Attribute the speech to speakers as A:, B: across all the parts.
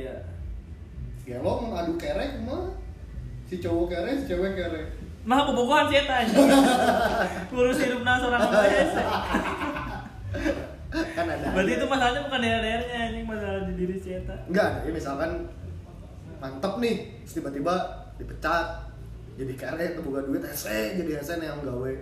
A: Iya.
B: ya lo ngadu kerek mah si cowok kerek si cewek kerek
A: Mah kebobohan sih eta anjing. Ngurus hidup seorang apa ya. sih.
B: kan ada
A: Berarti
B: aja.
A: itu masalahnya bukan daerah-daerahnya anjing, masalah di diri si eta.
B: enggak ya misalkan mantep nih terus tiba-tiba dipecat jadi kerek itu buka duit SE jadi SN yang gawe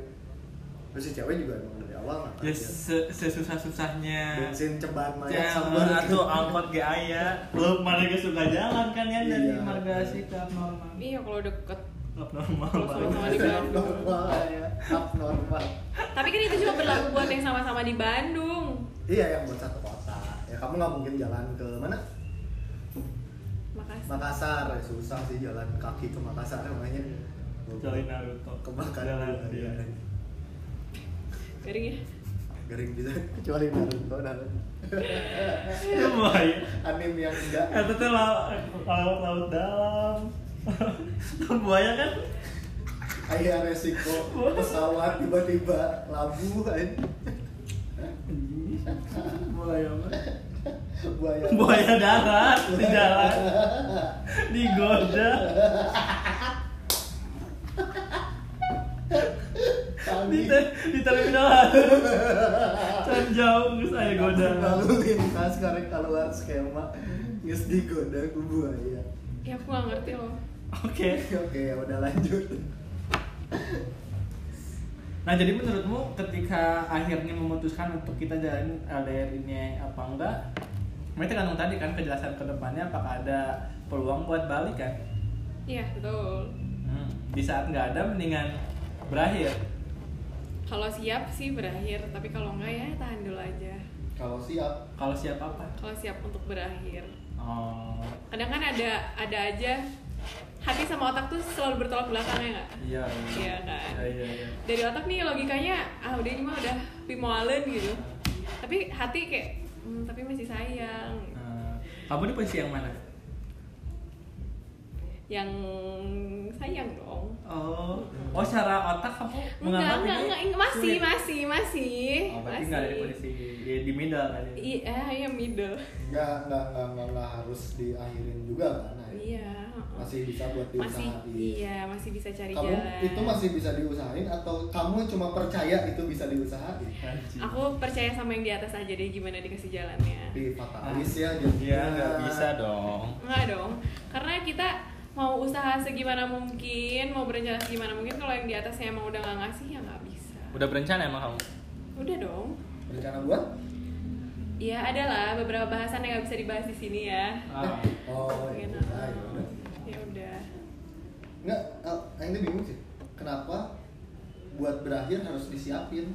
B: terus si cewek juga emang dari awal nggak
A: Ya
B: tahu.
A: se- sesusah-susahnya
B: bensin ceban
A: Ya,
B: mayat sabar
A: Jangan atau angkot ge aya. Lu marga suka jalan kan ya dari
B: Iya.
A: marga sikap normal.
C: Iya kalau deket.
A: Abnormal
C: Kalau
A: banget.
C: suka di Bandung.
B: normal ya abnormal
C: Tapi kan itu cuma berlaku buat yang sama-sama di Bandung.
B: iya yang buat satu kota ya kamu nggak mungkin jalan ke mana
C: Makasih.
B: Makassar ya, susah sih jalan kaki ke Makassar namanya
A: Kecuali Naruto. iya.
B: kebakaran
A: Jalan
B: juga,
A: dia.
B: ya.
C: Garing ya.
B: garing bisa gitu. kecuali Naruto dan
A: Ya bahaya.
B: anime yang enggak
A: Eta teh laut laut, laut dalam. Tahun buaya kan?
B: Ayah resiko pesawat tiba-tiba labuh kan Iya.
A: Buaya mah.
B: buaya
A: Buaya darat di jalan. Digoda. Di,
B: kami
A: te- di terminal harus. Can jauh geus aya goda.
B: lalu lintas karek keluar skema nges digoda ku buaya
C: Ya aku gak ngerti loh.
A: Oke.
B: oke udah lanjut
A: Nah jadi menurutmu ketika akhirnya memutuskan untuk kita jalan LDR ini apa enggak? Mereka tergantung tadi kan kejelasan kedepannya apakah ada peluang buat balik kan?
C: Iya betul.
A: Hmm, Di saat nggak ada mendingan berakhir.
C: Kalau siap sih berakhir, tapi kalau enggak ya tahan dulu aja.
B: kalau siap
A: Kalau siap apa?
C: Kalau siap untuk berakhir.
A: Oh
C: Kadang kan ada ada aja hati sama otak tuh selalu bertolak belakang ya nggak?
A: iya.
C: Iya kan.
A: Iya iya. iya.
C: Dari otak nih logikanya ah udah ini mah udah pimoalen gitu. Tapi hati kayak "Hmm, tapi masih sayang.
A: Nah, kamu di posisi yang mana?
C: Yang sayang dong.
A: Oh, oh secara otak kamu
C: Enggak,
A: menganggap
C: enggak,
A: ini
C: enggak, enggak. masih,
A: sulit?
C: masih, masih.
A: Oh, berarti nggak ada di posisi di, di middle kan ya? tadi.
C: Iya, iya middle.
B: nggak nggak nggak nggak, nggak harus diakhirin juga kan Nay?
C: Iya. heeh.
B: masih bisa buat
C: masih
B: diusahain
C: iya, masih bisa cari
B: kamu
C: jalan.
B: itu masih bisa diusahain atau kamu cuma percaya itu bisa diusahain
A: Anjing.
C: Aku percaya sama yang di atas aja deh gimana dikasih jalannya.
B: di fatalis ya jadi
A: Iya, nggak bisa dong.
C: Enggak dong. Karena kita mau usaha segimana mungkin, mau berencana segimana mungkin kalau yang di atasnya emang udah nggak ngasih ya nggak bisa.
A: Udah berencana emang kamu?
C: Udah dong.
B: rencana buat
C: Iya, adalah beberapa bahasan yang nggak bisa dibahas di sini ya.
A: Ah.
B: oh iya
C: Mungkin,
B: nah, ya
C: heeh.
B: udah.
C: Ya udah.
B: nggak ah, ini bingung sih kenapa buat berakhir harus disiapin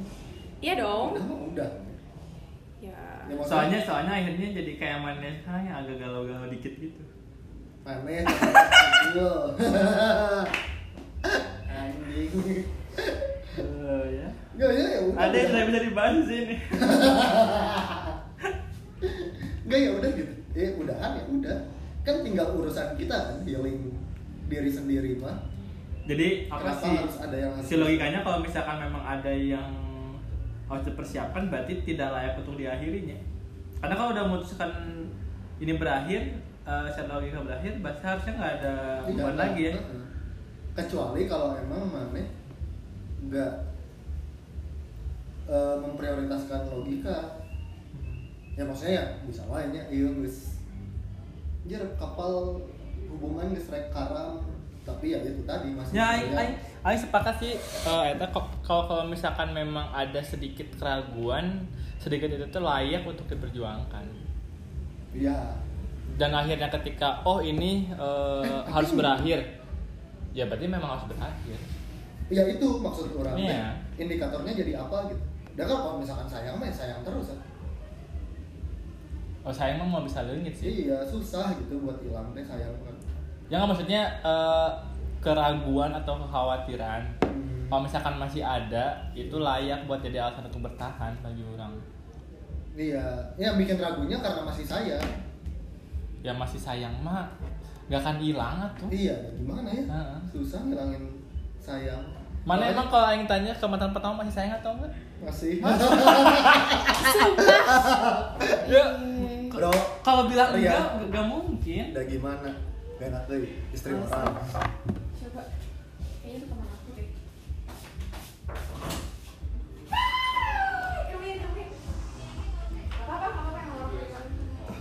C: Iya dong.
B: udah mah udah
C: Ya.
B: Ya, maksudnya
A: Soalnya soalnya akhirnya jadi kayak mana sekarang yang agak galau-galau dikit gitu.
B: maneh kecil. anjing
A: Eh, ya.
B: nggak ya ya udah
A: Ada yang
B: udah.
A: tidak bisa dibahas di sini.
B: Enggak ya udah gitu. Ya udahan ya udah. Kan tinggal urusan kita kan healing diri sendiri mah.
A: Jadi apa
B: Iya. Kenapa
A: sih?
B: harus ada yang
A: Si logikanya kalau misalkan memang ada yang harus dipersiapkan berarti tidak layak untuk diakhirinya. Karena kalau udah memutuskan ini berakhir, eh secara logika berakhir, berarti harusnya nggak ada
B: Tidak
A: hubungan
B: ada.
A: lagi ya.
B: Heeh. Kecuali kalau emang maneh enggak eh, memprioritaskan logika.
A: Hmm.
B: Ya maksudnya ya bisa lainnya iya geus jer kapal hubungan geus rek karam tapi ya itu tadi masih
A: Ya, Aing,
B: ada-
A: Aing, Aing sepakat sih. eh, Eta kok- kalau kalau misalkan memang ada sedikit keraguan, sedikit itu tuh layak untuk diperjuangkan.
B: Iya.
A: Dan akhirnya ketika oh ini eh, harus berakhir, ya berarti memang harus berakhir.
B: ya itu maksud orang teh.
A: Iya.
B: indikatornya jadi apa gitu dan kan kalau misalkan sayang mah ya sayang terus
A: Iya.
B: kan
A: Oh saya emang mau bisa leungit sih.
B: iya susah gitu buat hilang teh sayang kan
A: Ya nggak maksudnya eh, keraguan atau kekhawatiran.
B: Hmm.
A: Kalau misalkan masih ada, itu layak buat jadi alasan untuk bertahan bagi orang.
B: iya ya bikin ragunya karena masih sayang
A: Ya masih sayang mah, nggak akan hilang tuh.
B: iya ya gimana ya
A: Heeh.
B: susah ngilangin sayang
A: Mana
B: Makanya
A: emang kalau Aing tanya ke mantan pertama masih
B: Ya.
A: sayang atau enggak?
B: masih
A: Ya,
B: bro
A: Kalau bilang
B: Iya.
A: enggak, enggak mungkin.
B: udah gimana gak enak deh istri orang
C: Coba. Kayaknya itu teman aku deh. Kami, kami. Gak apa-apa, gak apa-apa yang ngomong.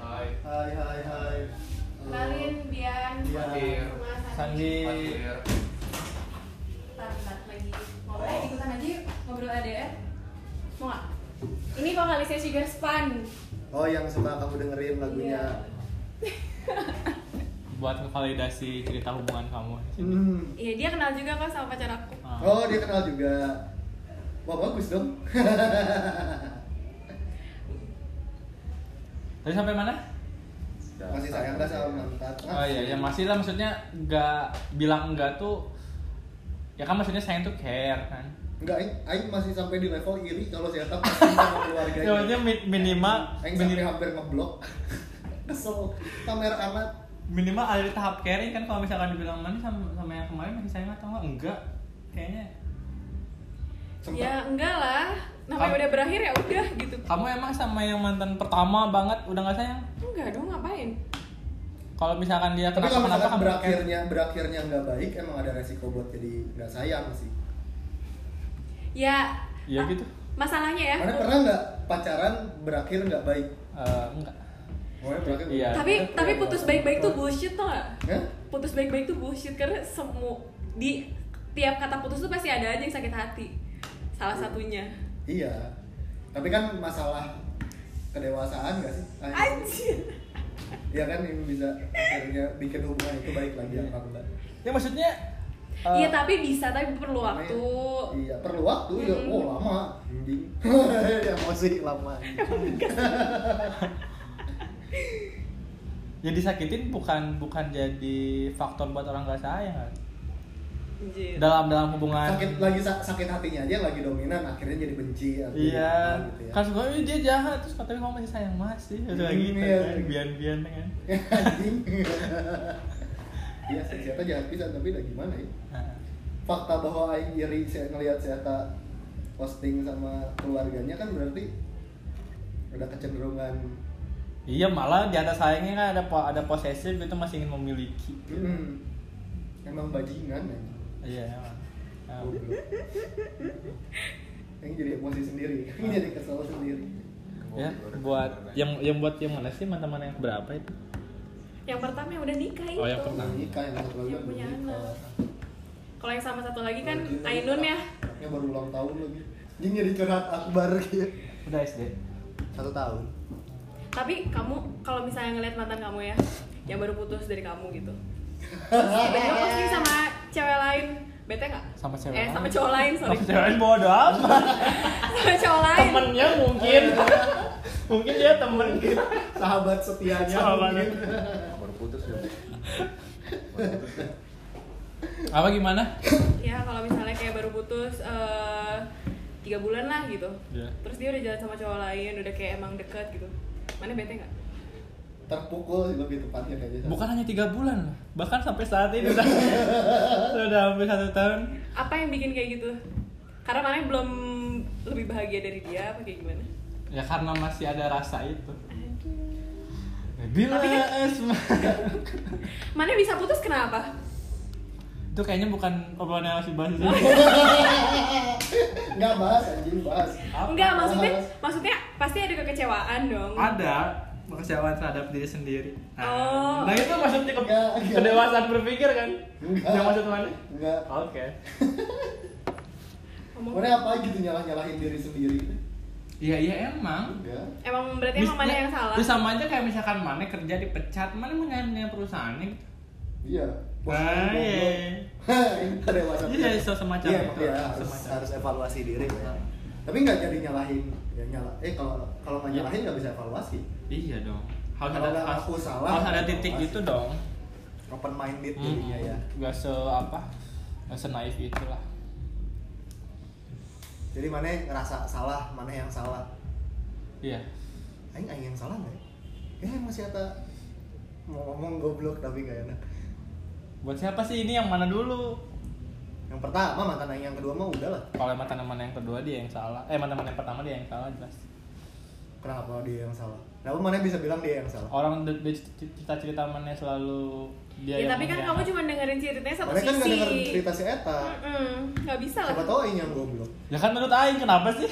D: Hai,
B: hai hai hai Halo.
C: Kenalin Bian.
B: Iya.
C: Rumah
A: Sandi.
D: Hadir.
C: Bentar, bentar, lagi ngobrol. Eh, ikutan aja yuk ngobrol ADR. Mau nggak? Ini vokalisnya Sugar Span.
B: oh yang suka kamu dengerin lagunya
A: Buat ngevalidasi cerita hubungan kamu.
B: hmm.
C: Iya, Iya, dia kenal juga kok sama pacar aku.
A: Ah.
B: oh dia kenal juga wah bagus dong
A: Tadi sampai mana?
B: masih sayang gak sama mantan
A: Oh iya, ya masih lah maksudnya enggak bilang enggak tuh ya kan maksudnya sayang tuh care kan.
B: Enggak, Aing, Aing masih sampai di level iri kalau saya tak pasti sama
A: Ya
B: keluarganya.
A: maksudnya mi- minimal
B: Aing sampai
A: minimal,
B: hampir ngeblok. Kesel, pamer amat.
A: minimal ada di tahap caring kan kalau misalkan dibilang mana sama, sama yang kemarin masih sayang atau enggak? Enggak. Kayaknya
B: Sempat.
C: Ya enggak lah, namanya
A: Kamu-
C: udah berakhir ya udah gitu.
A: kamu emang sama yang mantan pertama banget udah nggak sayang?
C: Enggak dong, ngapain?
A: Kalau misalkan dia
B: Tapi kalau
A: kenapa-kenapa
B: misalkan
A: Ya, kamu care.
B: berakhirnya berakhirnya nggak baik, emang ada resiko buat jadi nggak sayang sih.
C: Ya.
A: Iya
C: ah,
A: gitu.
C: Masalahnya ya.
B: Mana pernah nggak pacaran berakhir nggak baik?
A: Eh, enggak.
B: Pokoknya berakhir nggak
A: Iya.
B: baik.
C: Tapi
B: Mana
C: tapi
B: pernah
C: putus
B: nggak?
C: baik-baik tuh bullshit tau gak?
B: Hah?
C: Putus baik-baik tuh bullshit karena semua di tiap kata putus tuh pasti ada aja yang sakit hati. Salah satunya.
B: Iya. Tapi kan masalah kedewasaan nggak sih? Aing?
C: Anjir.
B: Iya kan yang bisa akhirnya bikin hubungan itu baik lagi apa enggak?
A: Ya maksudnya eh,
C: Iya tapi bisa tapi perlu waktu.
B: Iya, perlu waktu ya. Oh, lama. Anjing. Emosi lama.
A: ya disakitin bukan bukan jadi faktor buat orang gak sayang kan?
C: Anjir.
A: dalam dalam hubungan
B: Iya. Sakit lagi sa- sakit hatinya aja yang lagi dominan akhirnya jadi benci atau
A: iya
B: apa gitu ya.
A: kan suka "Ih, dia jahat terus katanya kamu masih sayang masih itu lagi gitu
B: Iya.
A: kan bian bian kan
B: Anjing. Iya, sih, Siata jahat pisan tapi udah gimana ya?
A: Nah,
B: Fakta bahwa aing iri saya ngelihat Siata posting sama keluarganya kan berarti ada kecenderungan
A: iya malah di atas sayangnya kan ada po- ada posesif itu masih ingin memiliki
B: hmm, emang bajingan ya.
A: iya emang. Nah,
B: Goblok. Yang jadi emosi sendiri, yang jadi kesel sendiri.
A: ya buat yang yang buat yang mana sih mantan mana yang berapa itu
C: Yang pertama yang udah nikah itu.
A: Oh, yang pertama.
B: Yang nikah yang satu lagi
C: Yang punya
B: belum
C: anak.
B: nikah.
C: Kalau yang sama satu lagi kan
B: Belum nikah.
C: Ainun ya.
B: Anaknya baru ulang tahun lagi. Jing jadi curhat akbar gitu.
A: udah sd
B: Satu tahun.
C: Tapi kamu kalau misalnya ngeliat mantan kamu ya, yang baru putus dari kamu gitu. Iya, Tiba-tiba posting sama cewek lain, bete nggak?
A: Sama cewek
C: eh,
A: lain.
C: sama cowok lain, sorry.
A: Tapi jangan bodoh amat
C: sama cowok lain.
A: temennya mungkin mungkin dia temen gitu
B: Sahabat setianya.
A: Sahabat.
B: mungkin.
D: Baru putus ya.
A: apa gimana
C: Ya kalau misalnya kayak baru putus eh, tiga bulan lah gitu.
A: Iya.
C: Terus dia udah jalan sama cowok lain, udah kayak emang deket gitu. Mana bete nggak?
B: Terpukul sih lebih tepatnya kayaknya.
A: bukan hanya tiga bulan loh. bahkan sampai saat ini udah sudah hampir satu tahun
C: Apa yang bikin kayak gitu? Karena mana belum lebih bahagia dari dia apa kayak gimana?
A: ya karena masih ada rasa itu bila esma
C: Mana bisa putus kenapa?
A: itu kayaknya bukan obrolan yang harus dibahas dulu.
B: Enggak bahas anjing bahas.
A: Apa?
C: Enggak, maksudnya
B: Mas?
C: maksudnya pasti ada kekecewaan dong.
A: ada kekecewaan terhadap diri sendiri nah,
C: Oh.
A: nah itu maksudnya ke
B: Enggak, enggak.
A: kedewasaan berpikir kan
B: Enggak.
A: yang maksud mana
B: Enggak.
A: oke
C: Ngomong-
B: Mana apa gitu nyalah-nyalahin diri sendiri.
A: iya iya emang
B: Enggak.
C: Emang berarti emang mana
A: Bisnya-
C: yang salah?
A: Terus sama aja kayak misalkan mana kerja dipecat, mana mau nyari perusahaannya gitu.
B: Iya.
A: Nah, iya.
B: Hah, ini kedewasaan.
A: Iya, so- semacam
B: Iya,
A: itu.
B: iya, harus,
A: Semacam. Iya.
B: harus evaluasi diri. ya. Tapi nggak jadi nyalahin, ya nyala. Eh kalau kalau nggak nyalahin nggak bisa evaluasi.
A: Iya dong. Harus
B: Kalau
A: ada
B: nggak
A: harus,
B: aku salah,
A: harus ada
B: nggak
A: titik
B: apa-apa.
A: itu dong.
B: Open minded
A: Hmm,
B: jadinya ya.
A: Nggak se apa, nggak se naif itulah.
B: Jadi mana yang ngerasa salah, mana yang salah.
A: Iya.
B: Aing aing yang salah nggak? Ya Eh masih ada mau ngomong goblok tapi nggak enak.
A: Buat siapa sih ini yang mana dulu?
B: Yang pertama mantan aing yang kedua mah udah lah.
A: Kalau mantan mana yang kedua dia yang salah. Eh mantan mana yang pertama dia yang salah jelas.
B: Kenapa dia yang salah? Kenapa mana bisa bilang dia yang salah?
A: orang cerita cerita mana selalu dia
B: Iya,
C: ya,
A: yang
C: tapi kan
A: menjahat.
C: kamu cuma dengerin ceritanya satu
B: Mana
C: sisi.
B: kan nggak denger cerita si Eta.
C: Mm-mm, nggak bisa lah.
B: Siapa tahu Aing yang goblok.
A: ya kan menurut Aing kenapa sih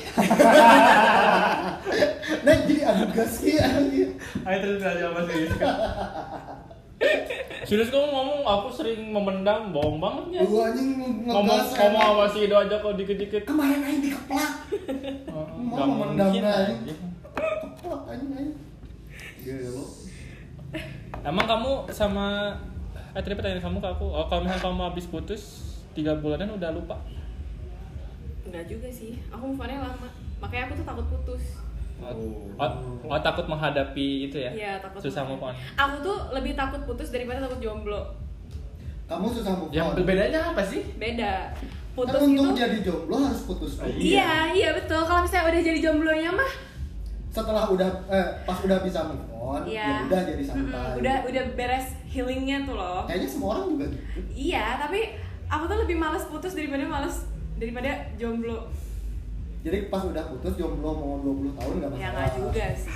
B: Nah jadi adu gas sih anjing.
A: Aing terus aja apa sih Serius kamu ngomong aku sering memendam bohong banget ya
B: Gua anjing
A: ngomong
B: ngegas.
A: ngomong sama si Ido aja kok dikit-dikit
B: Kemarin Aing dikeplak.
A: Nggak
B: Mau memendam
A: mungkin
B: Aing.
A: aja.
B: Keplak Aing Aing. Iya lo.
A: Emang kamu sama Eh tadi pertanyaan kamu ke aku oh, Kalau misalnya kamu habis putus Tiga bulanan udah lupa
C: Enggak juga sih. Aku move on-nya lama. Makanya aku tuh takut putus.
A: Oh, oh, takut menghadapi itu ya?
C: Iya, takut.
A: Susah
C: putus.
A: move on
C: Aku tuh lebih takut putus daripada takut jomblo.
B: Kamu susah move
A: Ya
B: on.
A: bedanya apa sih?
C: Beda.
B: Kan
C: Putus itu
B: untuk jadi jomblo harus putus dulu.
C: Iya, iya betul. Kalau misalnya udah jadi jomblonya mah,
B: Setelah udah eh, pas udah bisa move on, ya
C: ya
B: udah jadi santai. Eh.
C: Mm-mm, udah udah beres healingnya tuh loh.
B: Kayaknya semua orang juga gitu.
C: Iya, tapi aku tuh lebih males putus daripada males daripada jomblo.
B: Jadi pas udah putus jomblo mau 20 tahun nggak
C: Ya
B: masalah.
C: nggak juga sih.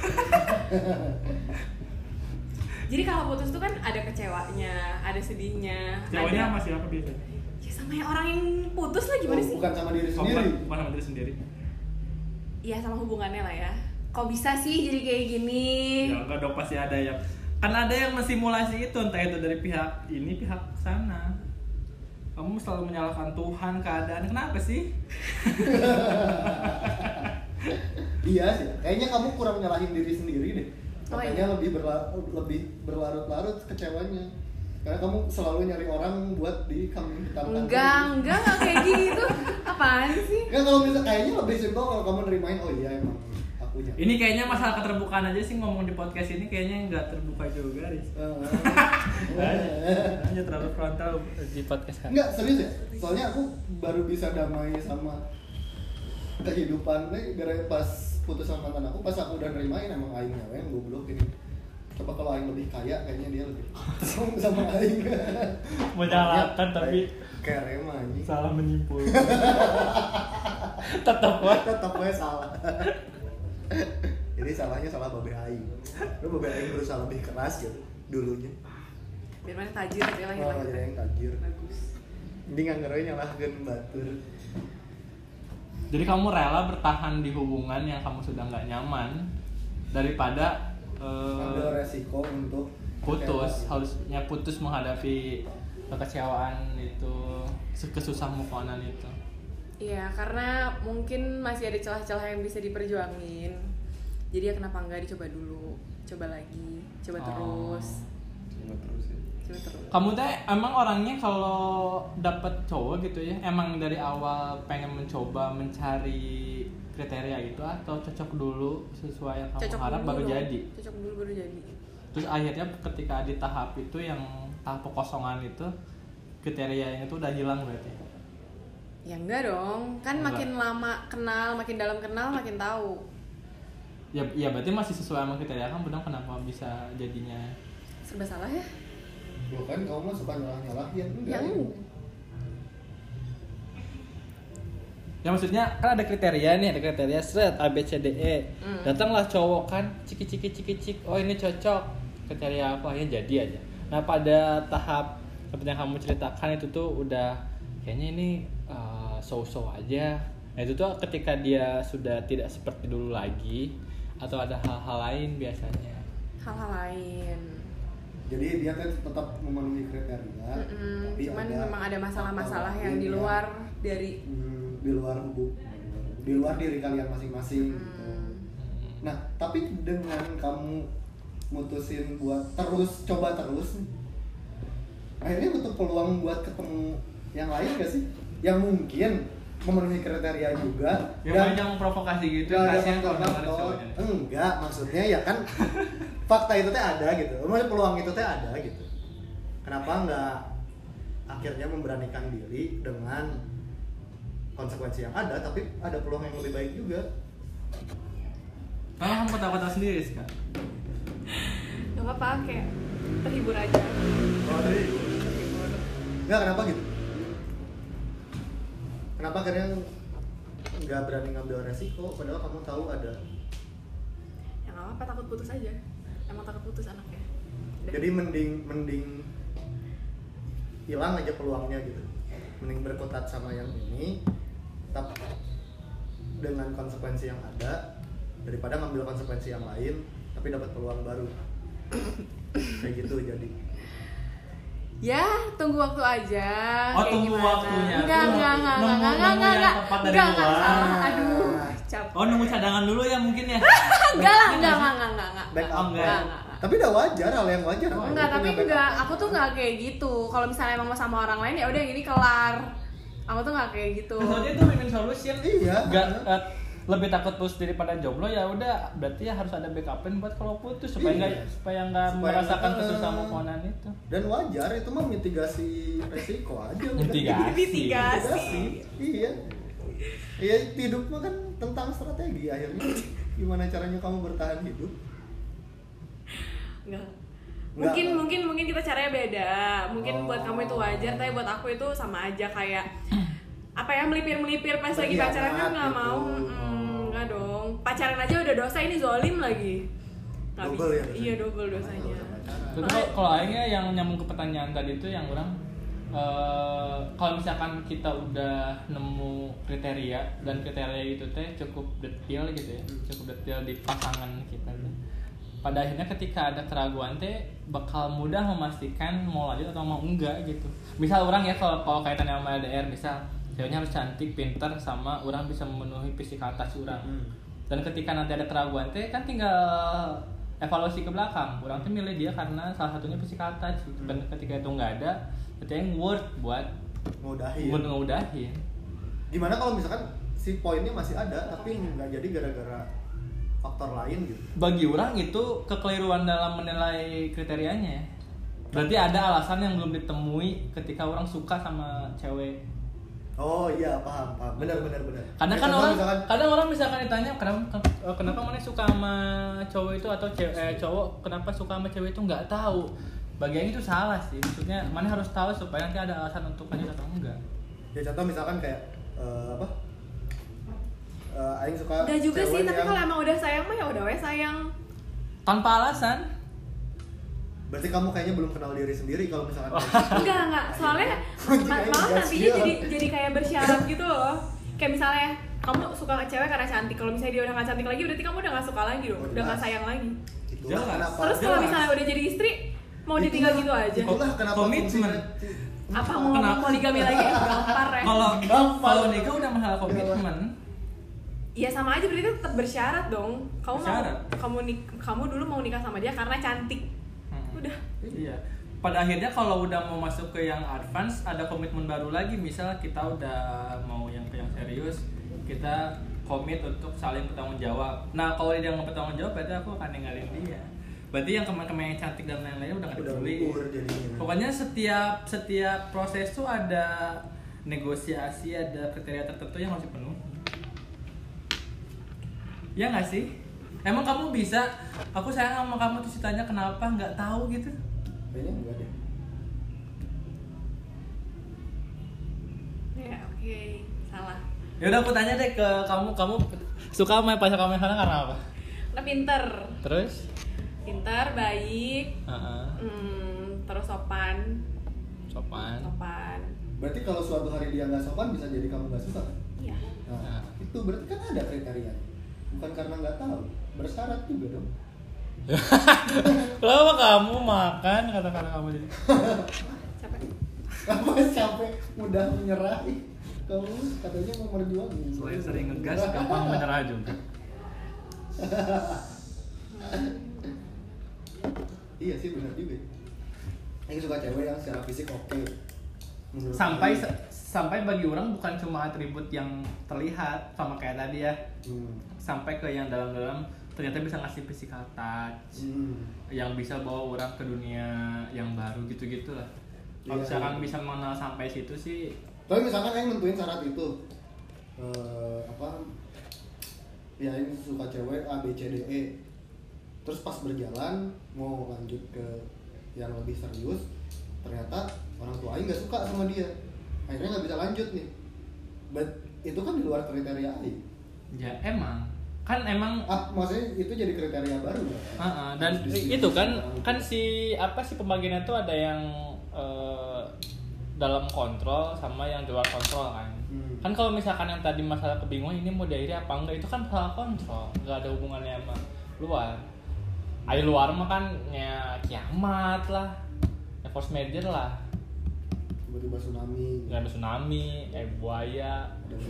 C: Jadi kalau putus tuh kan ada kecewanya, ada sedihnya,
A: Ceweknya
C: ada
A: masih apa biasanya?
C: ya sama yang orang yang putus lah gimana
B: Oh,
C: sih?
B: Bukan sama diri
A: Bukan,
B: sendiri.
A: bukan sama diri sendiri
C: Iya sama hubungannya lah ya. Kok bisa sih jadi kayak gini?
A: Ya enggak dong pasti ada yang Kan ada yang mensimulasi itu Entah itu dari pihak ini, pihak sana Kamu selalu menyalahkan Tuhan, keadaan Kenapa sih?
B: Iya sih. Kayaknya kamu kurang nyalahin diri sendiri deh.
C: Oh,
B: Makanya
C: iya.
B: lebih berla- lebih berlarut-larut kecewanya. Karena kamu selalu nyari orang buat di kambing hitam
C: Enggak, enggak, enggak kayak gitu. Apaan sih?
B: Enggak kalau bisa kayaknya lebih simpel kalau kamu nerimain oh iya emang Eh, akunya.
A: Ini kayaknya masalah keterbukaan aja sih ngomong di podcast ini kayaknya nggak terbuka juga
B: Eh,
A: Riz Nah, Hanya terlalu frontal di podcast kan.
B: Enggak serius ya. Soalnya aku baru bisa damai sama kehidupan nih gara pas putus sama mantan aku pas aku udah nerimain emang aing nyawa yang goblok ini. Coba kalau aing lebih kaya kayaknya dia lebih kosong sama aing.
A: Menyalarkan tapi
B: kayak rema anjing.
A: salah menyimpul. Tetap wah.
B: Tetap gue salah. Jadi salahnya salah babe aing. Lu babe aing berusaha lebih keras gitu dulunya.
C: Biar mana tajir tapi lah
B: Malah jadi yang tajir.
C: Bagus.
B: Ini nggak ngeroy nyalahkan batur.
A: Jadi kamu rela bertahan di hubungan yang kamu sudah nggak nyaman daripada eh,
B: Ambil resiko untuk
A: putus harusnya putus menghadapi kekecewaan itu se- kesusah move onan itu.
C: Iya, karena mungkin masih ada celah-celah yang bisa diperjuangin. Jadi ya kenapa enggak dicoba dulu? Coba lagi, coba
A: Oh.
C: terus,
D: Cuma terus ya.
C: coba terus.
A: Kamu teh emang orangnya kalau dapat cowok gitu ya, emang dari awal pengen mencoba mencari kriteria gitu atau cocok dulu sesuai yang kamu harap baru
C: dong.
A: jadi.
C: Cocok dulu baru jadi.
A: Terus akhirnya ketika di tahap itu yang tahap kekosongan itu kriteria yang itu udah hilang berarti.
C: Ya enggak dong, kan
A: Enggak.
C: makin lama kenal, makin dalam kenal, makin tahu.
A: Ya, ya berarti masih sesuai sama kriteria kamu dong kenapa bisa jadinya
C: Serba salah ya?
B: Bukan kan kamu mah suka nyalah nyalahin enggak?
C: Yang
A: Ya maksudnya kan ada kriteria nih, ada kriteria seret A B C D E.
C: Hmm.
A: Datanglah cowok kan ciki ciki ciki cik. Oh ini cocok. Kriteria apa ya jadi aja. Nah pada tahap seperti yang kamu ceritakan itu tuh udah kayaknya ini show so aja. Nah itu tuh ketika dia sudah tidak seperti dulu lagi atau ada hal-hal lain biasanya.
C: hal-hal lain.
B: Jadi dia kan tetap memenuhi kriteria.
C: Mm-mm,
B: tapi
C: cuman
B: ada
C: memang ada masalah-masalah
B: hal
C: yang di
B: lain
C: luar dari
B: Hmm, di luar hubung di luar diri kalian masing-masing gitu.
C: Hmm.
A: Hmm.
B: Nah, tapi dengan kamu mutusin buat terus coba terus nih, akhirnya butuh peluang buat ketemu yang lain gak sih? Yang mungkin memenuhi kriteria juga
A: Ya
B: dan-
A: banyak provokasi gitu
B: Gak ada
A: kasihan kalau
B: faktor-
A: dengerin
B: faktor.
A: cowoknya.
B: Enggak, maksudnya ya kan fakta itu teh ada gitu. Maksudnya peluang itu teh ada gitu. Kenapa enggak akhirnya memberanikan diri dengan konsekuensi yang ada tapi ada peluang yang lebih baik juga.
A: Kalau kamu ketawa-ketawa sendiri, Ska?
C: Gak apa-apa, kayak terhibur aja Terhibur.
B: Enggak kenapa gitu? Kenapa akhirnya nggak berani ngambil resiko padahal kamu tahu ada
C: Ya gak apa-apa apa takut putus aja emang takut putus anaknya Udah.
B: jadi mending mending hilang aja peluangnya gitu mending berkutat sama yang ini tetap dengan konsekuensi yang ada daripada ngambil konsekuensi yang lain tapi dapat peluang baru kayak gitu jadi
C: ya tunggu waktu aja
A: Oh,
C: kayak
A: tunggu
C: gimana.
A: waktunya.
C: enggak
A: Tunggu
C: enggak enggak
A: waktu.
C: enggak
A: Nunggu- nunggu
C: enggak enggak enggak
A: yang
C: enggak
A: tepat dari
C: enggak enggak
A: luar.
C: salah. aduh capek
A: Oh nunggu cadangan dulu ya mungkin ya.
C: enggak lah enggak enggak enggak enggak enggak
B: back up
A: Oh, enggak.
B: lah. tapi udah wajar hal yang wajar
C: Oh, enggak, tapi
B: Itu
C: enggak.
B: backup.
C: Aku tuh enggak kayak gitu. Kalau misalnya emang mau sama orang lain ya udah yang ini kelar. Aku tuh enggak kayak gitu.
A: Soalnya itu win-win solution.
B: Iya.
A: Gak, eh, lebih takut putus daripada jomblo ya udah berarti ya harus ada backup-in buat kalau putus supaya
B: Iya.
A: nggak supaya nggak
B: Supaya
A: merasakan
B: nggak- eh,
A: kesusahan pepohonan itu.
B: dan wajar itu mah mitigasi resiko aja udah.
A: Mitigasi.
B: Mitigasi. iya iya hidup mah kan tentang strategi akhirnya gimana caranya kamu bertahan hidup Enggak.
C: Enggak. Mungkin mungkin mungkin kita caranya beda. Mungkin
B: Oh.
C: buat kamu itu wajar, tapi buat aku itu sama aja kayak apa ya melipir-melipir pas lagi
B: Berkhianat
C: pacaran kan
B: gitu.
C: nggak
B: Oh.
C: mau. Mm, Enggak dong. Pacaran aja udah dosa ini zolim lagi. Nggak
B: Double ya
C: bisa.
B: dosanya?
C: Iya, double dosanya.
B: Nggak usah pacaran.
A: Terus kalau- kalau akhirnya yang nyambung ke pertanyaan tadi itu yang orang eh, kalau misalkan kita udah nemu kriteria dan kriteria itu teh cukup detail gitu ya, cukup detail di pasangan kita tuh. Pada akhirnya ketika ada keraguan teh bakal mudah memastikan mau lanjut atau mau enggak gitu. Misal orang ya kalau kalau kaitannya sama LDR misal ceweknya harus cantik, pinter sama orang bisa memenuhi fisik atas orang
B: Hmm.
A: dan ketika nanti ada keraguan teh kan tinggal evaluasi ke belakang orang tuh milih dia karena salah satunya physical touch gitu. dan ketika itu nggak ada itu yang worth buat
B: ngudahin
A: buat ngeudahin
B: gimana kalau misalkan si poinnya masih ada tapi nggak jadi gara-gara faktor lain gitu
A: bagi orang itu kekeliruan dalam menilai kriterianya ya. berarti ada alasan yang belum ditemui ketika orang suka sama cewek
B: oh iya paham paham benar benar benar
A: karena
B: Ya,
A: kan
B: Contoh
A: orang
B: misalkan-
A: kadang orang misalkan ditanya kenapa oh, kenapa mana suka sama cowok itu atau cewek eh, cowok kenapa suka sama cewek itu nggak tahu bagian itu salah sih maksudnya mana harus tahu supaya nanti ada alasan untuk lanjut atau enggak
B: ya contoh misalkan kayak eh, apa Eh, Aing suka
C: Enggak juga
B: cewek
C: sih, tapi
B: yang-
C: kalau emang udah sayang mah ya udah we sayang.
A: tanpa alasan
B: berarti kamu kayaknya belum kenal diri sendiri kalau misalkan gitu.
C: enggak enggak soalnya ma-
B: Kayak
C: malah
B: gas
C: nantinya
B: dia.
C: jadi jadi kayak bersyarat gitu loh kayak misalnya kamu suka ke cewek karena cantik kalau misalnya dia udah gak cantik lagi berarti kamu udah gak suka lagi dong
B: Oh,
C: udah gak
B: jelas.
C: sayang lagi
B: itulah
A: Jelas.
B: kenapa
C: terus kalau
A: jelas.
C: misalnya udah jadi istri mau ditinggal gitu aja
B: itulah kenapa
A: Komitmen.
B: fungsinya-
C: apa mau ngomong
A: Kenapa?
C: poligami lagi gampar ya
A: kalau
B: Gampang.
A: kalau nikah udah mahal komitmen
C: Iya sama aja berarti tetap bersyarat dong kamu
A: Bersyarat.
C: mau kamu nik kamu dulu mau nikah sama dia karena cantik
A: Hmm.
C: udah
A: Iya. Pada akhirnya kalau udah mau masuk ke yang advance ada komitmen baru lagi. Misal kita udah mau yang ke yang serius, kita komit untuk saling bertanggung jawab. Nah, kalau dia nggak bertanggung jawab, berarti aku akan ninggalin dia. Berarti yang kemarin-kemarin yang cantik dan lain-lain udah nggak
B: udah
A: dibeli.
B: gugur jadinya
A: Pokoknya setiap setiap proses tuh ada negosiasi, ada kriteria tertentu yang harus dipenuhi. Ya nggak sih? Emang kamu bisa? Aku sayang sama kamu terus ditanya kenapa nggak tahu gitu?
B: kayaknya enggak deh
C: ya oke salah
A: Ya udah aku tanya deh ke kamu, kamu suka sama pacar kamu yang sekarang karena apa?
C: udah pinter
A: Terus?
C: pinter baik
A: Heeh.
C: Hmm, terus sopan, Kan?
A: sopan.
C: sopan.
B: berarti kalau suatu hari dia nggak sopan bisa jadi kamu nggak suka kan
C: Iya.
B: nah,
A: Nah.
B: itu berarti kan ada kriteria bukan karena nggak tahu bersyarat juga dong
A: Kenapa kamu makan kata-kata kamu tadi?
C: Capek.
B: kamu sampai mudah menyerah ih, kamu katanya mau berjuang
A: Selain sering ngegas, gampang menyerah juga.
B: iya sih benar juga yang suka cewek yang secara fisik oke Menurut
A: Sampai
B: Aing.
A: sampai bagi orang bukan cuma atribut yang terlihat sama kayak tadi ya,
B: Hmm.
A: sampai ke yang dalam-dalam ternyata bisa ngasih physical touch,
B: Hmm.
A: yang bisa bawa orang ke dunia yang baru gitu-gitu lah.
B: Iya,
A: Kalau misalkan
B: iya.
A: bisa mengenal sampai situ sih
B: Tapi misalkan Aing nentuin syarat itu eh, apa ya Aing suka cewek A B C D E terus pas berjalan mau lanjut ke yang lebih serius ternyata orang tua Aing nggak suka sama dia akhirnya nggak bisa lanjut nih but itu kan di luar kriteria Aing
A: ya emang kan emang
B: Ah, maksudnya itu jadi kriteria baru ya?
A: Heeh, Ah, dan itu kan kan si apa sih pembagiannya tuh ada yang eh, dalam kontrol sama yang di luar kontrol kan.
B: Hmm.
A: Kan kalau misalkan yang tadi masalah kebingungan ini mau diakhiri apa enggak itu kan masalah kontrol, nggak ada hubungannya sama luar. Ayo luar mah kan ya kiamat lah, ya force major lah,
B: tiba-tiba tsunami Oh,
A: nggak ada tsunami, ya buaya,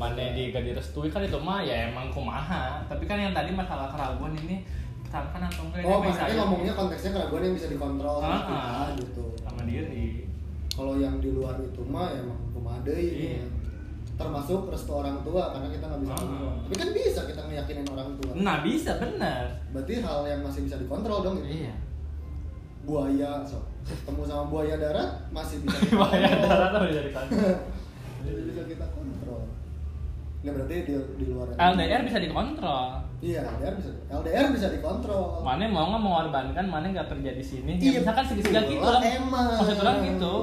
A: mana di gak direstui kan itu mah ya emang kumaha. Tapi kan yang tadi masalah keraguan ini pertahankan atau enggak
B: oh
A: ini bisa
B: maksudnya
A: aja.
B: ngomongnya konteksnya keraguan yang bisa dikontrol
A: Ah,
B: gitu ya,
A: ah.
B: gitu
A: sama diri
B: kalau yang di luar itu mah emang pemadai
A: Iya.
B: ya. termasuk restu orang tua karena kita nggak bisa
A: Ah.
B: kontrol tapi kan bisa kita ngeyakinin orang tua
A: nah bisa bener
B: berarti hal yang masih bisa dikontrol dong itu
A: Iya.
B: buaya so ketemu sama buaya darat masih bisa kita
A: banyak
B: kontrol.
A: darah tuh bisa dikontrol
B: masih bisa kita kontrol ini berarti di, di luar itu.
A: LDR bisa dikontrol
B: iya LDR bisa LDR bisa dikontrol
A: mana mau nggak mengorbankan mana nggak kerja di sini
B: Iya,
A: ya, misalkan segitiga
B: betul.
A: gitu lah
B: Emang.
A: maksud orang gitu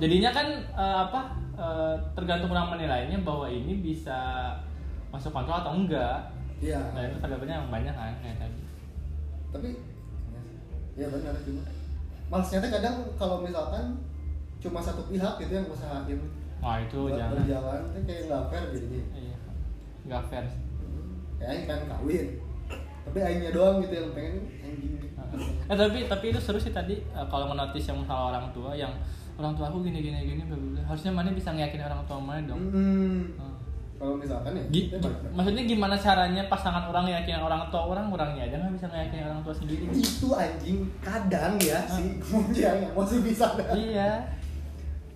A: jadinya kan eh, apa eh, tergantung orang menilainya bahwa ini bisa masuk kontrol atau enggak
B: iya
A: nah itu variabelnya yang banyak kan kayak tadi
B: tapi ya benar cuma malasnya teh kadang kalau misalkan cuma satu pihak gitu yang usahain
A: wah itu
B: buat
A: Gitu, jangan
B: berjalan teh kayak nggak fair jadinya
A: iya nggak fair
B: kayak aing pengen kawin tapi aingnya doang gitu yang pengen anjing
A: Eh tapi tapi itu seru sih tadi eh, kalau ngenotis yang salah orang tua yang orang tua aku gini gini gini bla, bla, bla." harusnya mana bisa ngeyakin orang tua mana dong.
B: Hmm.
A: Eh,
B: kalau misalkan ya
A: gi-
B: teh
A: gi-
B: baik-baik.
A: maksudnya gimana caranya pasangan orang yakin orang tua orang orangnya aja nggak bisa ngeyakin orang tua sendiri.
B: itu anjing kadang ya si Mujang yang masih bisa
A: iya.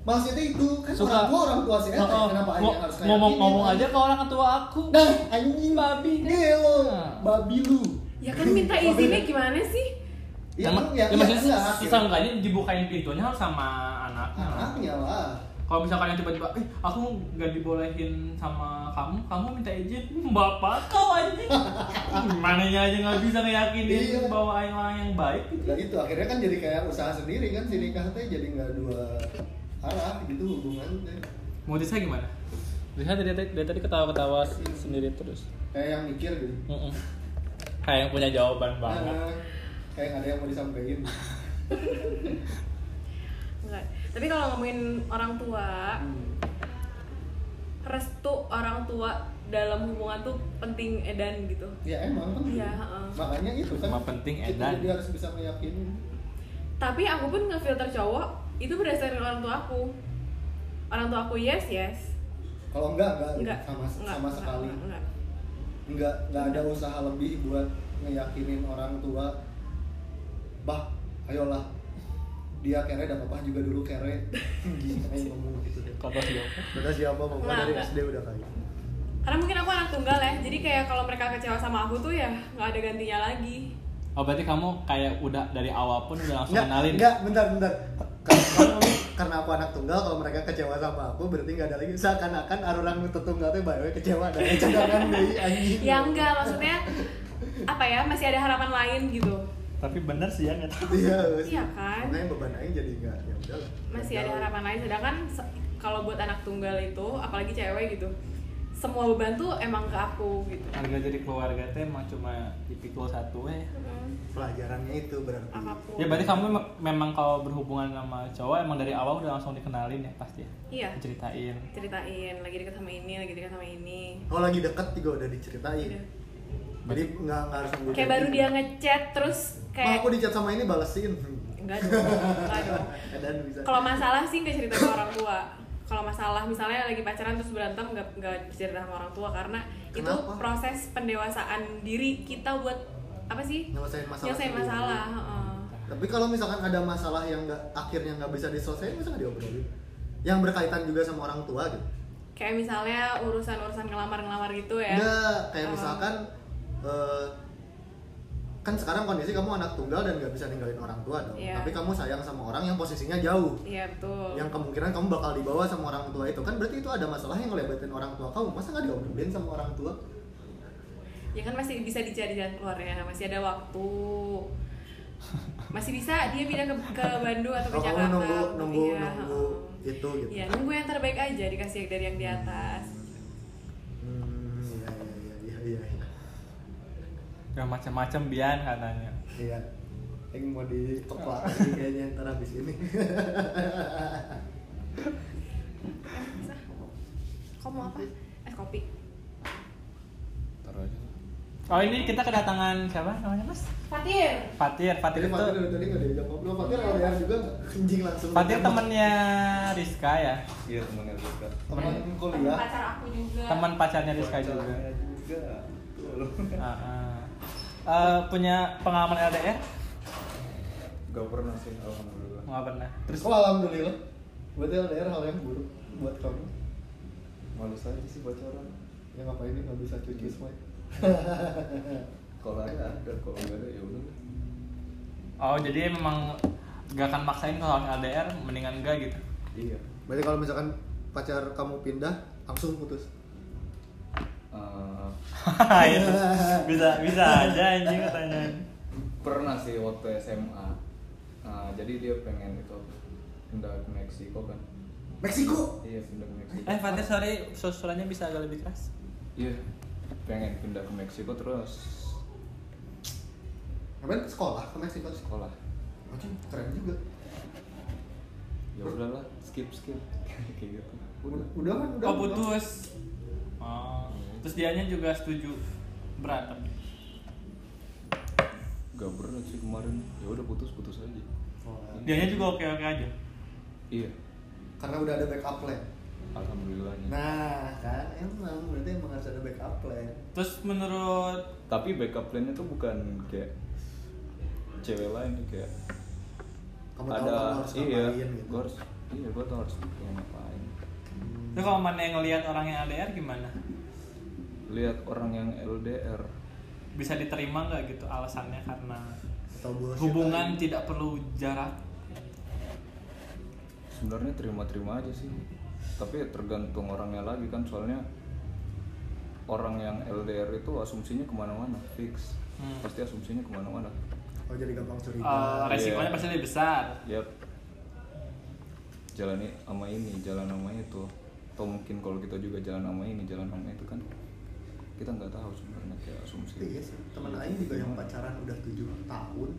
B: maksudnya itu kan
A: Suka-
B: orang tua orang tua sih eh,
A: Oh, oh,
B: kenapa aing
A: ngo-
B: yang harus kayak
A: ngomong
B: gini,
A: ngomong
B: anjing?
A: aja ke orang tua aku.
B: Nah, anjing babi gelo,
A: Nah.
B: babi lu.
C: Ya kan minta izinnya gimana sih?
B: Ya, emang
A: Nah,
B: ya,
A: ya,
B: ya,
A: maksudnya
B: enggak,
A: si- si
B: ya.
A: sangkanya dibukain pintunya harus sama anaknya.
B: Anaknya lah.
A: Kalau misalkan yang tiba-tiba, eh aku nggak dibolehin sama kamu, kamu minta izin, "Hmm, bapak kau anjing. Gimana aja nggak bisa
B: Iya.
A: ngeyakinin bahwa aing orang yang baik gitu.
B: Nah itu akhirnya kan jadi kayak usaha sendiri kan si nikah teh jadi nggak dua arah gitu hubungan teh.
A: Motisnya gimana? Motisnya dari, tadi- dari tadi ketawa-ketawa sendiri terus.
B: Kayak yang mikir gitu.
A: Mm-mm. Kayak yang punya jawaban banget.
B: Nah, kayak nggak ada yang mau disampaikan.
C: Enggak. Tapi kalau ngomongin orang tua,
B: Hmm.
C: restu orang tua dalam hubungan tuh penting edan gitu.
B: Ya emang kan.
C: Iya, heeh.
B: Makanya itu kan.
A: Cuma penting
B: kita
A: edan.
B: jadi harus bisa meyakini.
C: Tapi aku pun ngefilter cowok itu berdasarkan orang tua aku. Orang tua aku yes yes.
B: Kalau enggak enggak, gitu,
C: Enggak.
B: sama
C: enggak,
B: sama
C: enggak,
B: sekali.
C: Enggak, enggak.
B: nggak nggak ada usaha lebih buat ngeyakinin orang tua bah ayolah dia kere dan papa juga dulu kere gitu aja ngomong gitu deh
A: Kata siapa?
B: udah siapa papa
C: Nggak,
B: dari
C: nggak.
B: SD udah kaya
C: Karena mungkin aku anak tunggal ya, jadi kayak kalau mereka kecewa sama aku tuh ya nggak ada gantinya lagi.
A: Oh berarti kamu kayak udah dari awal pun udah langsung
B: nggak
A: kenalin.
B: nggak bentar bentar karena, kamu- karena aku anak tunggal kalau mereka kecewa sama aku berarti nggak ada lagi seakan-akan orang itu tunggal teh baru kecewa dan cadangan dari anjing
C: Ya enggak, maksudnya apa ya masih ada harapan lain gitu.
A: Tapi bener sih ya nggak tahu.
B: iya
C: Iya kan?
B: makanya beban aing jadi nggak ya udahlah
C: masih ada harapan lain sedangkan se- kalau buat anak tunggal itu apalagi cewek gitu semua beban tuh emang ke aku gitu
A: Harga jadi keluarga teh emang cuma tipikal satu ya.
B: Mm-hmm.
C: Mm,
B: pelajarannya itu berarti
C: apapun
A: Ya berarti kamu emang- memang kalau berhubungan sama cowok emang dari awal udah langsung dikenalin ya pasti ya?
C: Iya.
A: Ceritain.
C: ceritain lagi dekat sama ini lagi dekat sama ini
B: Oh lagi deket juga udah diceritain.
C: Udah.
B: Jadi nggak nggak harus nunggu
C: kayak
B: jadi.
C: baru dia ngechat terus
B: Ma,
C: kayak
B: gitu. aku dicat sama ini balesin.
C: enggak dong enggak dong
B: Dan bisa.
C: kalau masalah sih nggak cerita ke orang tua kalau masalah misalnya lagi pacaran terus berantem nggak nggak cerita sama orang tua karena itu
B: Kenapa?
C: proses pendewasaan diri kita buat apa sih
B: Nyelesain masalah
C: nyelesain
B: sendiri.
C: masalah heeh.
B: Tapi kalau misalkan ada masalah yang nggak akhirnya nggak bisa diselesaikan, masa nggak diobrolin? Yang berkaitan juga sama orang tua gitu.
C: kayak misalnya urusan-urusan ngelamar-ngelamar gitu ya
B: Nggak, kayak
C: Oh.
B: misalkan eh, kan sekarang kondisi kamu anak tunggal dan nggak bisa ninggalin orang tua dong.
C: Iya.
B: Tapi kamu sayang sama orang yang posisinya jauh.
C: iya betul
B: yang kemungkinan kamu bakal dibawa sama orang tua itu kan berarti itu ada masalah yang ngelebatin orang tua kamu masa nggak diobrolin sama orang tua
C: ya kan masih bisa dicari jalan keluarnya masih ada waktu masih bisa dia pindah ke, ke Bandung atau ke
B: Oh, kamu
C: Jakarta
B: nunggu-
C: untuk-
B: nunggu-
C: iya,
B: nunggu
C: heeh.
B: itu gitu.
C: Iya, nunggu yang terbaik aja dikasih dari yang di atas
B: Hmm, iya iya iya iya. iya.
A: yang macam-macam Bian katanya
B: Iya. Yang mau diteplak lagi kayaknya ntar habis ini.
C: Kamu mau apa? Eh kopi.
D: Taruh aja.
A: oh ini kita kedatangan siapa namanya mas
E: Fatir.
A: Fatir Iya, Fatir Iya,
B: Tadi
A: itu
B: Fatir dari tadi nggak diajak ngobrol. Fatir LDR juga nggak? Anjing langsung.
A: Fatir temennya Rizka ya
D: Iya temennya Rizka.
B: Temen
E: Temen
B: kuliah.
E: pacar aku juga.
A: teman pacarnya Iya, Rizka juga
D: Pacarnya juga. Betul.
A: Ah, ah. Eh, punya pengalaman LDR
D: Gak pernah sih alhamdulillah.
A: nggak pernah
B: Terus
A: terus
B: oh, alhamdulillah. Berarti LDR hal yang buruk buat kamu.
D: Malu saja sih pacaran.
B: Yang ngapain ini nggak bisa cuci semua.
D: Kalau ada ada, kalau nggak ada ya udah.
A: oh jadi memang gak akan maksain kalau LDR mendingan enggak gitu
D: Iya.
B: Berarti kalau misalkan pacar kamu pindah langsung putus.
D: Eh,
A: Itu. Iya. bisa bisa aja anjing katanya
D: pernah sih waktu SMA. Nah, jadi dia pengen itu pindah ke Meksiko kan.
B: Meksiko.
D: Iya pindah ke Meksiko.
A: eh Fatir sorry suaranya bisa agak lebih keras
D: Iya. Pengen pindah ke Meksiko terus
B: Kemarin sekolah ke Meksiko sih.
D: sekolah.
B: Anjing keren juga.
D: Ya udahlah skip skip kayak gitu.
B: Udah, udah kan udah.
A: oh putus oh. terus dianya juga setuju berantem
D: Gak berat sih kemarin. Ya udah putus putus aja.
B: Oh,
A: dianya juga oke oke aja
D: Iya.
B: Karena udah ada backup plan.
D: Alhamdulillahnya.
B: Nah, kan emang berarti emang harus ada backup plan.
A: terus menurut
D: Tapi backup plan-nya tuh bukan kayak cewek lain tuh kayak
B: Kamu tahu
D: ada
B: kamu harus
D: iya,
B: ngapain gitu.
D: gua harus iya gua tahu harus ngapain.
A: itu kalau mana yang ngelihat orang yang LDR gimana
D: Lihat orang yang LDR
A: bisa diterima nggak gitu alasannya karena
B: Atau bullshit
A: hubungan
B: aja.
A: tidak perlu jarak
D: sebenarnya terima-terima aja sih. Tapi ya tergantung orangnya lagi kan soalnya orang yang LDR itu asumsinya kemana-mana fix
A: Hmm.
D: pasti asumsinya kemana-mana
B: Oh jadi gampang curiga.
A: Eh, resikonya
D: Iya.
A: pasti lebih besar
D: Yap. Jalani sama ini, jalan sama itu. Atau mungkin kalau kita juga jalan sama ini, jalan sama itu kan kita nggak tahu sebenarnya kayak asumsi.
B: Iya sih. Temen lain juga yang pacaran udah 7 tahun,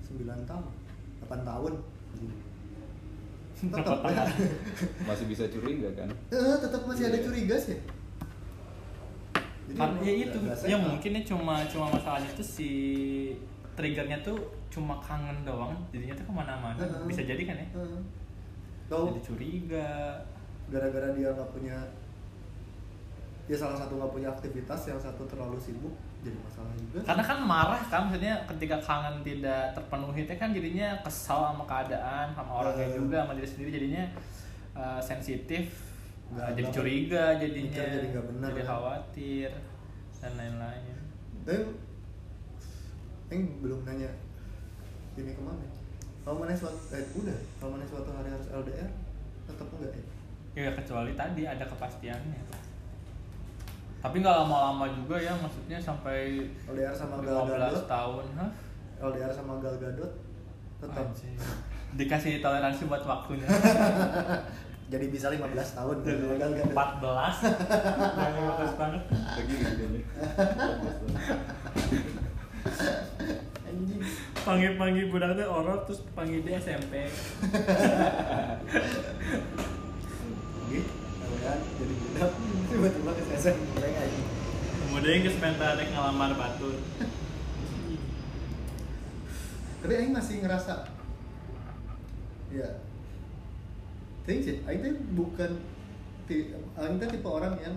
B: 9 tahun, 8 tahun. Tetap ya.
D: Masih bisa curiga kan?
B: Eh, tetap masih ada
D: Iya.
B: curiga sih. Jadi
A: karena
B: emang
A: ya itu
B: nggak kan?
A: ya
B: sehat.
A: mungkin ya cuma cuma masalahnya tuh si triggernya tuh cuma kangen doang jadinya tuh kemana-mana
B: Heeh.
A: bisa jadi kan ya
B: Heeh. Tahu
A: jadi curiga
B: gara-gara dia nggak punya dia salah satu nggak punya aktivitas, yang satu terlalu sibuk, jadi masalah juga.
A: karena kan marah kan maksudnya ketika kangen tidak terpenuhi itu kan jadinya kesal sama keadaan sama orangnya
B: Eh.
A: juga sama diri sendiri jadinya eh, sensitif eh,
B: Nggak-
A: jadi
B: nggak-
A: curiga jadinya
B: mikir jadi nggak benar,
A: jadi
B: kan?
A: khawatir dan lain-lain
B: Dan Eng belum nanya ini kemana? Kalau mana suatu eh, udah, kalau mana suatu hari harus LDR, tetap enggak ya?
A: ya kecuali tadi ada kepastiannya tapi nggak lama-lama juga ya maksudnya sampai
B: LDR sama
A: 15
B: Gal Gadot,
A: tahun hah?
B: LDR sama Gal Gadot, tetap.
A: Anjing. dikasih toleransi buat waktunya
B: Jadi bisa 15 tahun
A: Betul.
B: sama Gal
A: 14
B: Gadot.
A: Jangan ngetes banget
D: Lagi gini
B: Anjing.
A: panggil-panggil budak teh orok terus panggil dia SMP
B: Oke, LDR jadi budak, tiba-tiba ke SMP anjing.
A: kemudian ke sementara ngelamar batu
B: Tapi Aing masih ngerasa Ya Think sih, Aing tuh bukan ti- Aing tuh tipe orang yang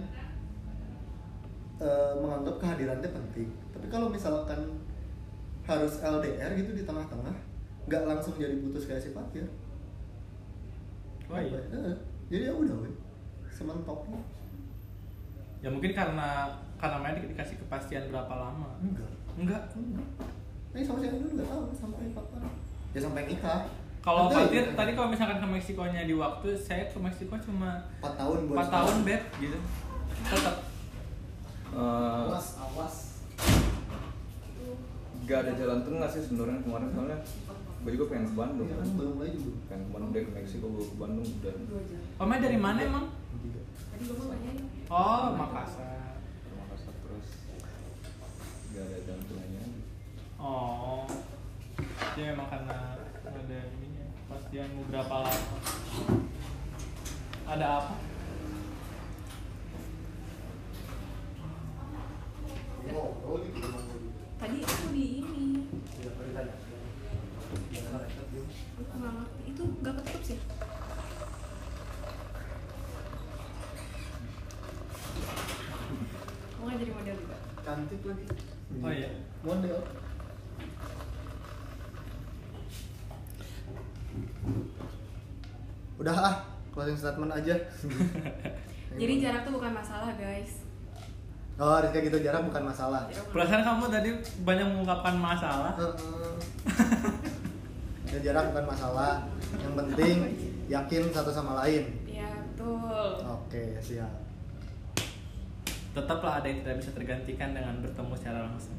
B: eh, Menganggap kehadirannya penting Tapi kalau misalkan Harus LDR gitu di tengah-tengah nggak langsung jadi putus kayak si Fatir
A: oh iya
B: Heeh. Jadi ya udah weh Sementoknya
A: ya mungkin karena karena main dikasih kepastian berapa lama
B: Enggak
A: enggak
B: Enggak Ini sama si Aing dulu nggak tahu sampai kapan Ya sampai nikah
A: kalau
B: Betul. iya.
A: Fatir tadi kalau misalkan ke Meksikonya di waktu saya ke Meksiko cuma
B: 4 tahun buat
A: 4 tahun beb gitu tetap
D: Eh,
B: Awas, awas
D: gak ada jalan tengah sih sebenarnya kemarin soalnya gue juga pengen ke Bandung
B: Iya
D: kan.
B: kan belum aja belum.
D: Pengen ke Bandung dari Meksiko gue ke Bandung dan
E: Dua jam.
A: Omnya dari mana emang
B: Tiga.
E: Tadi kamu nanya.
A: oh Makassar
D: Makassar terus nggak ada cantumannya
A: Oh. Dia memang karena ada ininya. Pastian beberapa lama. Ada apa?
B: Ini ngobrol gitu sama gue.
E: Tadi aku di ini.
B: Tidak perlu ditanya. Jangan repot, Bim.
E: Aku nggak ngerti. Itu nggak ketutup sih. Mau nggak jadi model juga?
B: Cantik lagi.
A: Oh iya.
B: Model. Udah ah, closing statement aja.
E: Jadi
B: Iya.
E: jarak tuh bukan masalah guys.
B: Oh, Rizka gitu jarak bukan masalah.
E: Jarak bukan-
A: Perasaan kamu tadi banyak mengungkapkan masalah.
B: Heeh. Ya, jarak bukan masalah. Yang penting yakin satu sama lain.
E: Iya betul.
B: Oke, siap.
A: Tetaplah ada yang tidak bisa tergantikan dengan bertemu secara langsung.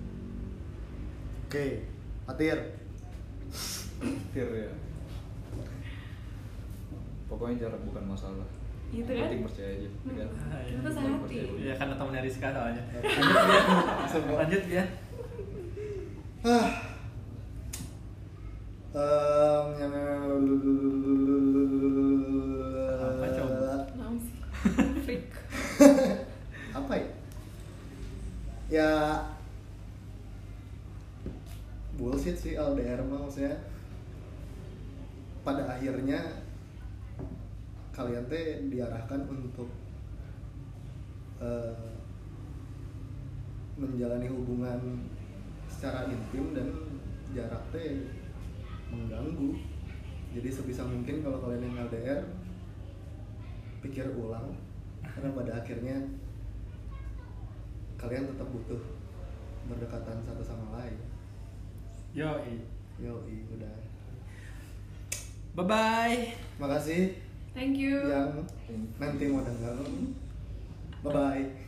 B: Oke, Fatir.
D: tir ya pokoknya jarak bukan masalah
E: Gitu
D: Yang
E: kan?
D: penting percaya aja ya kan?
A: Ah, iya.
E: Itu sehati.
A: Ya karena temannya Rizka soalnya.
B: Semua.
A: Lanjut ya.
B: Ah. Em, ya,
A: Apa coba?
E: Naon sih? Freak.
B: apa ya? Ya bullshit sih LDR mah maksudnya. Pada akhirnya kalian teh diarahkan untuk eh, menjalani hubungan secara intim dan jarak teh mengganggu. Jadi sebisa mungkin kalau kalian yang LDR pikir ulang karena pada akhirnya kalian tetap butuh berdekatan satu sama lain.
A: Yo.
B: Yoi, udah.
A: Bye bye.
B: Makasih Iya.
E: Thank you.
B: yang nanti mau denger. Bye bye.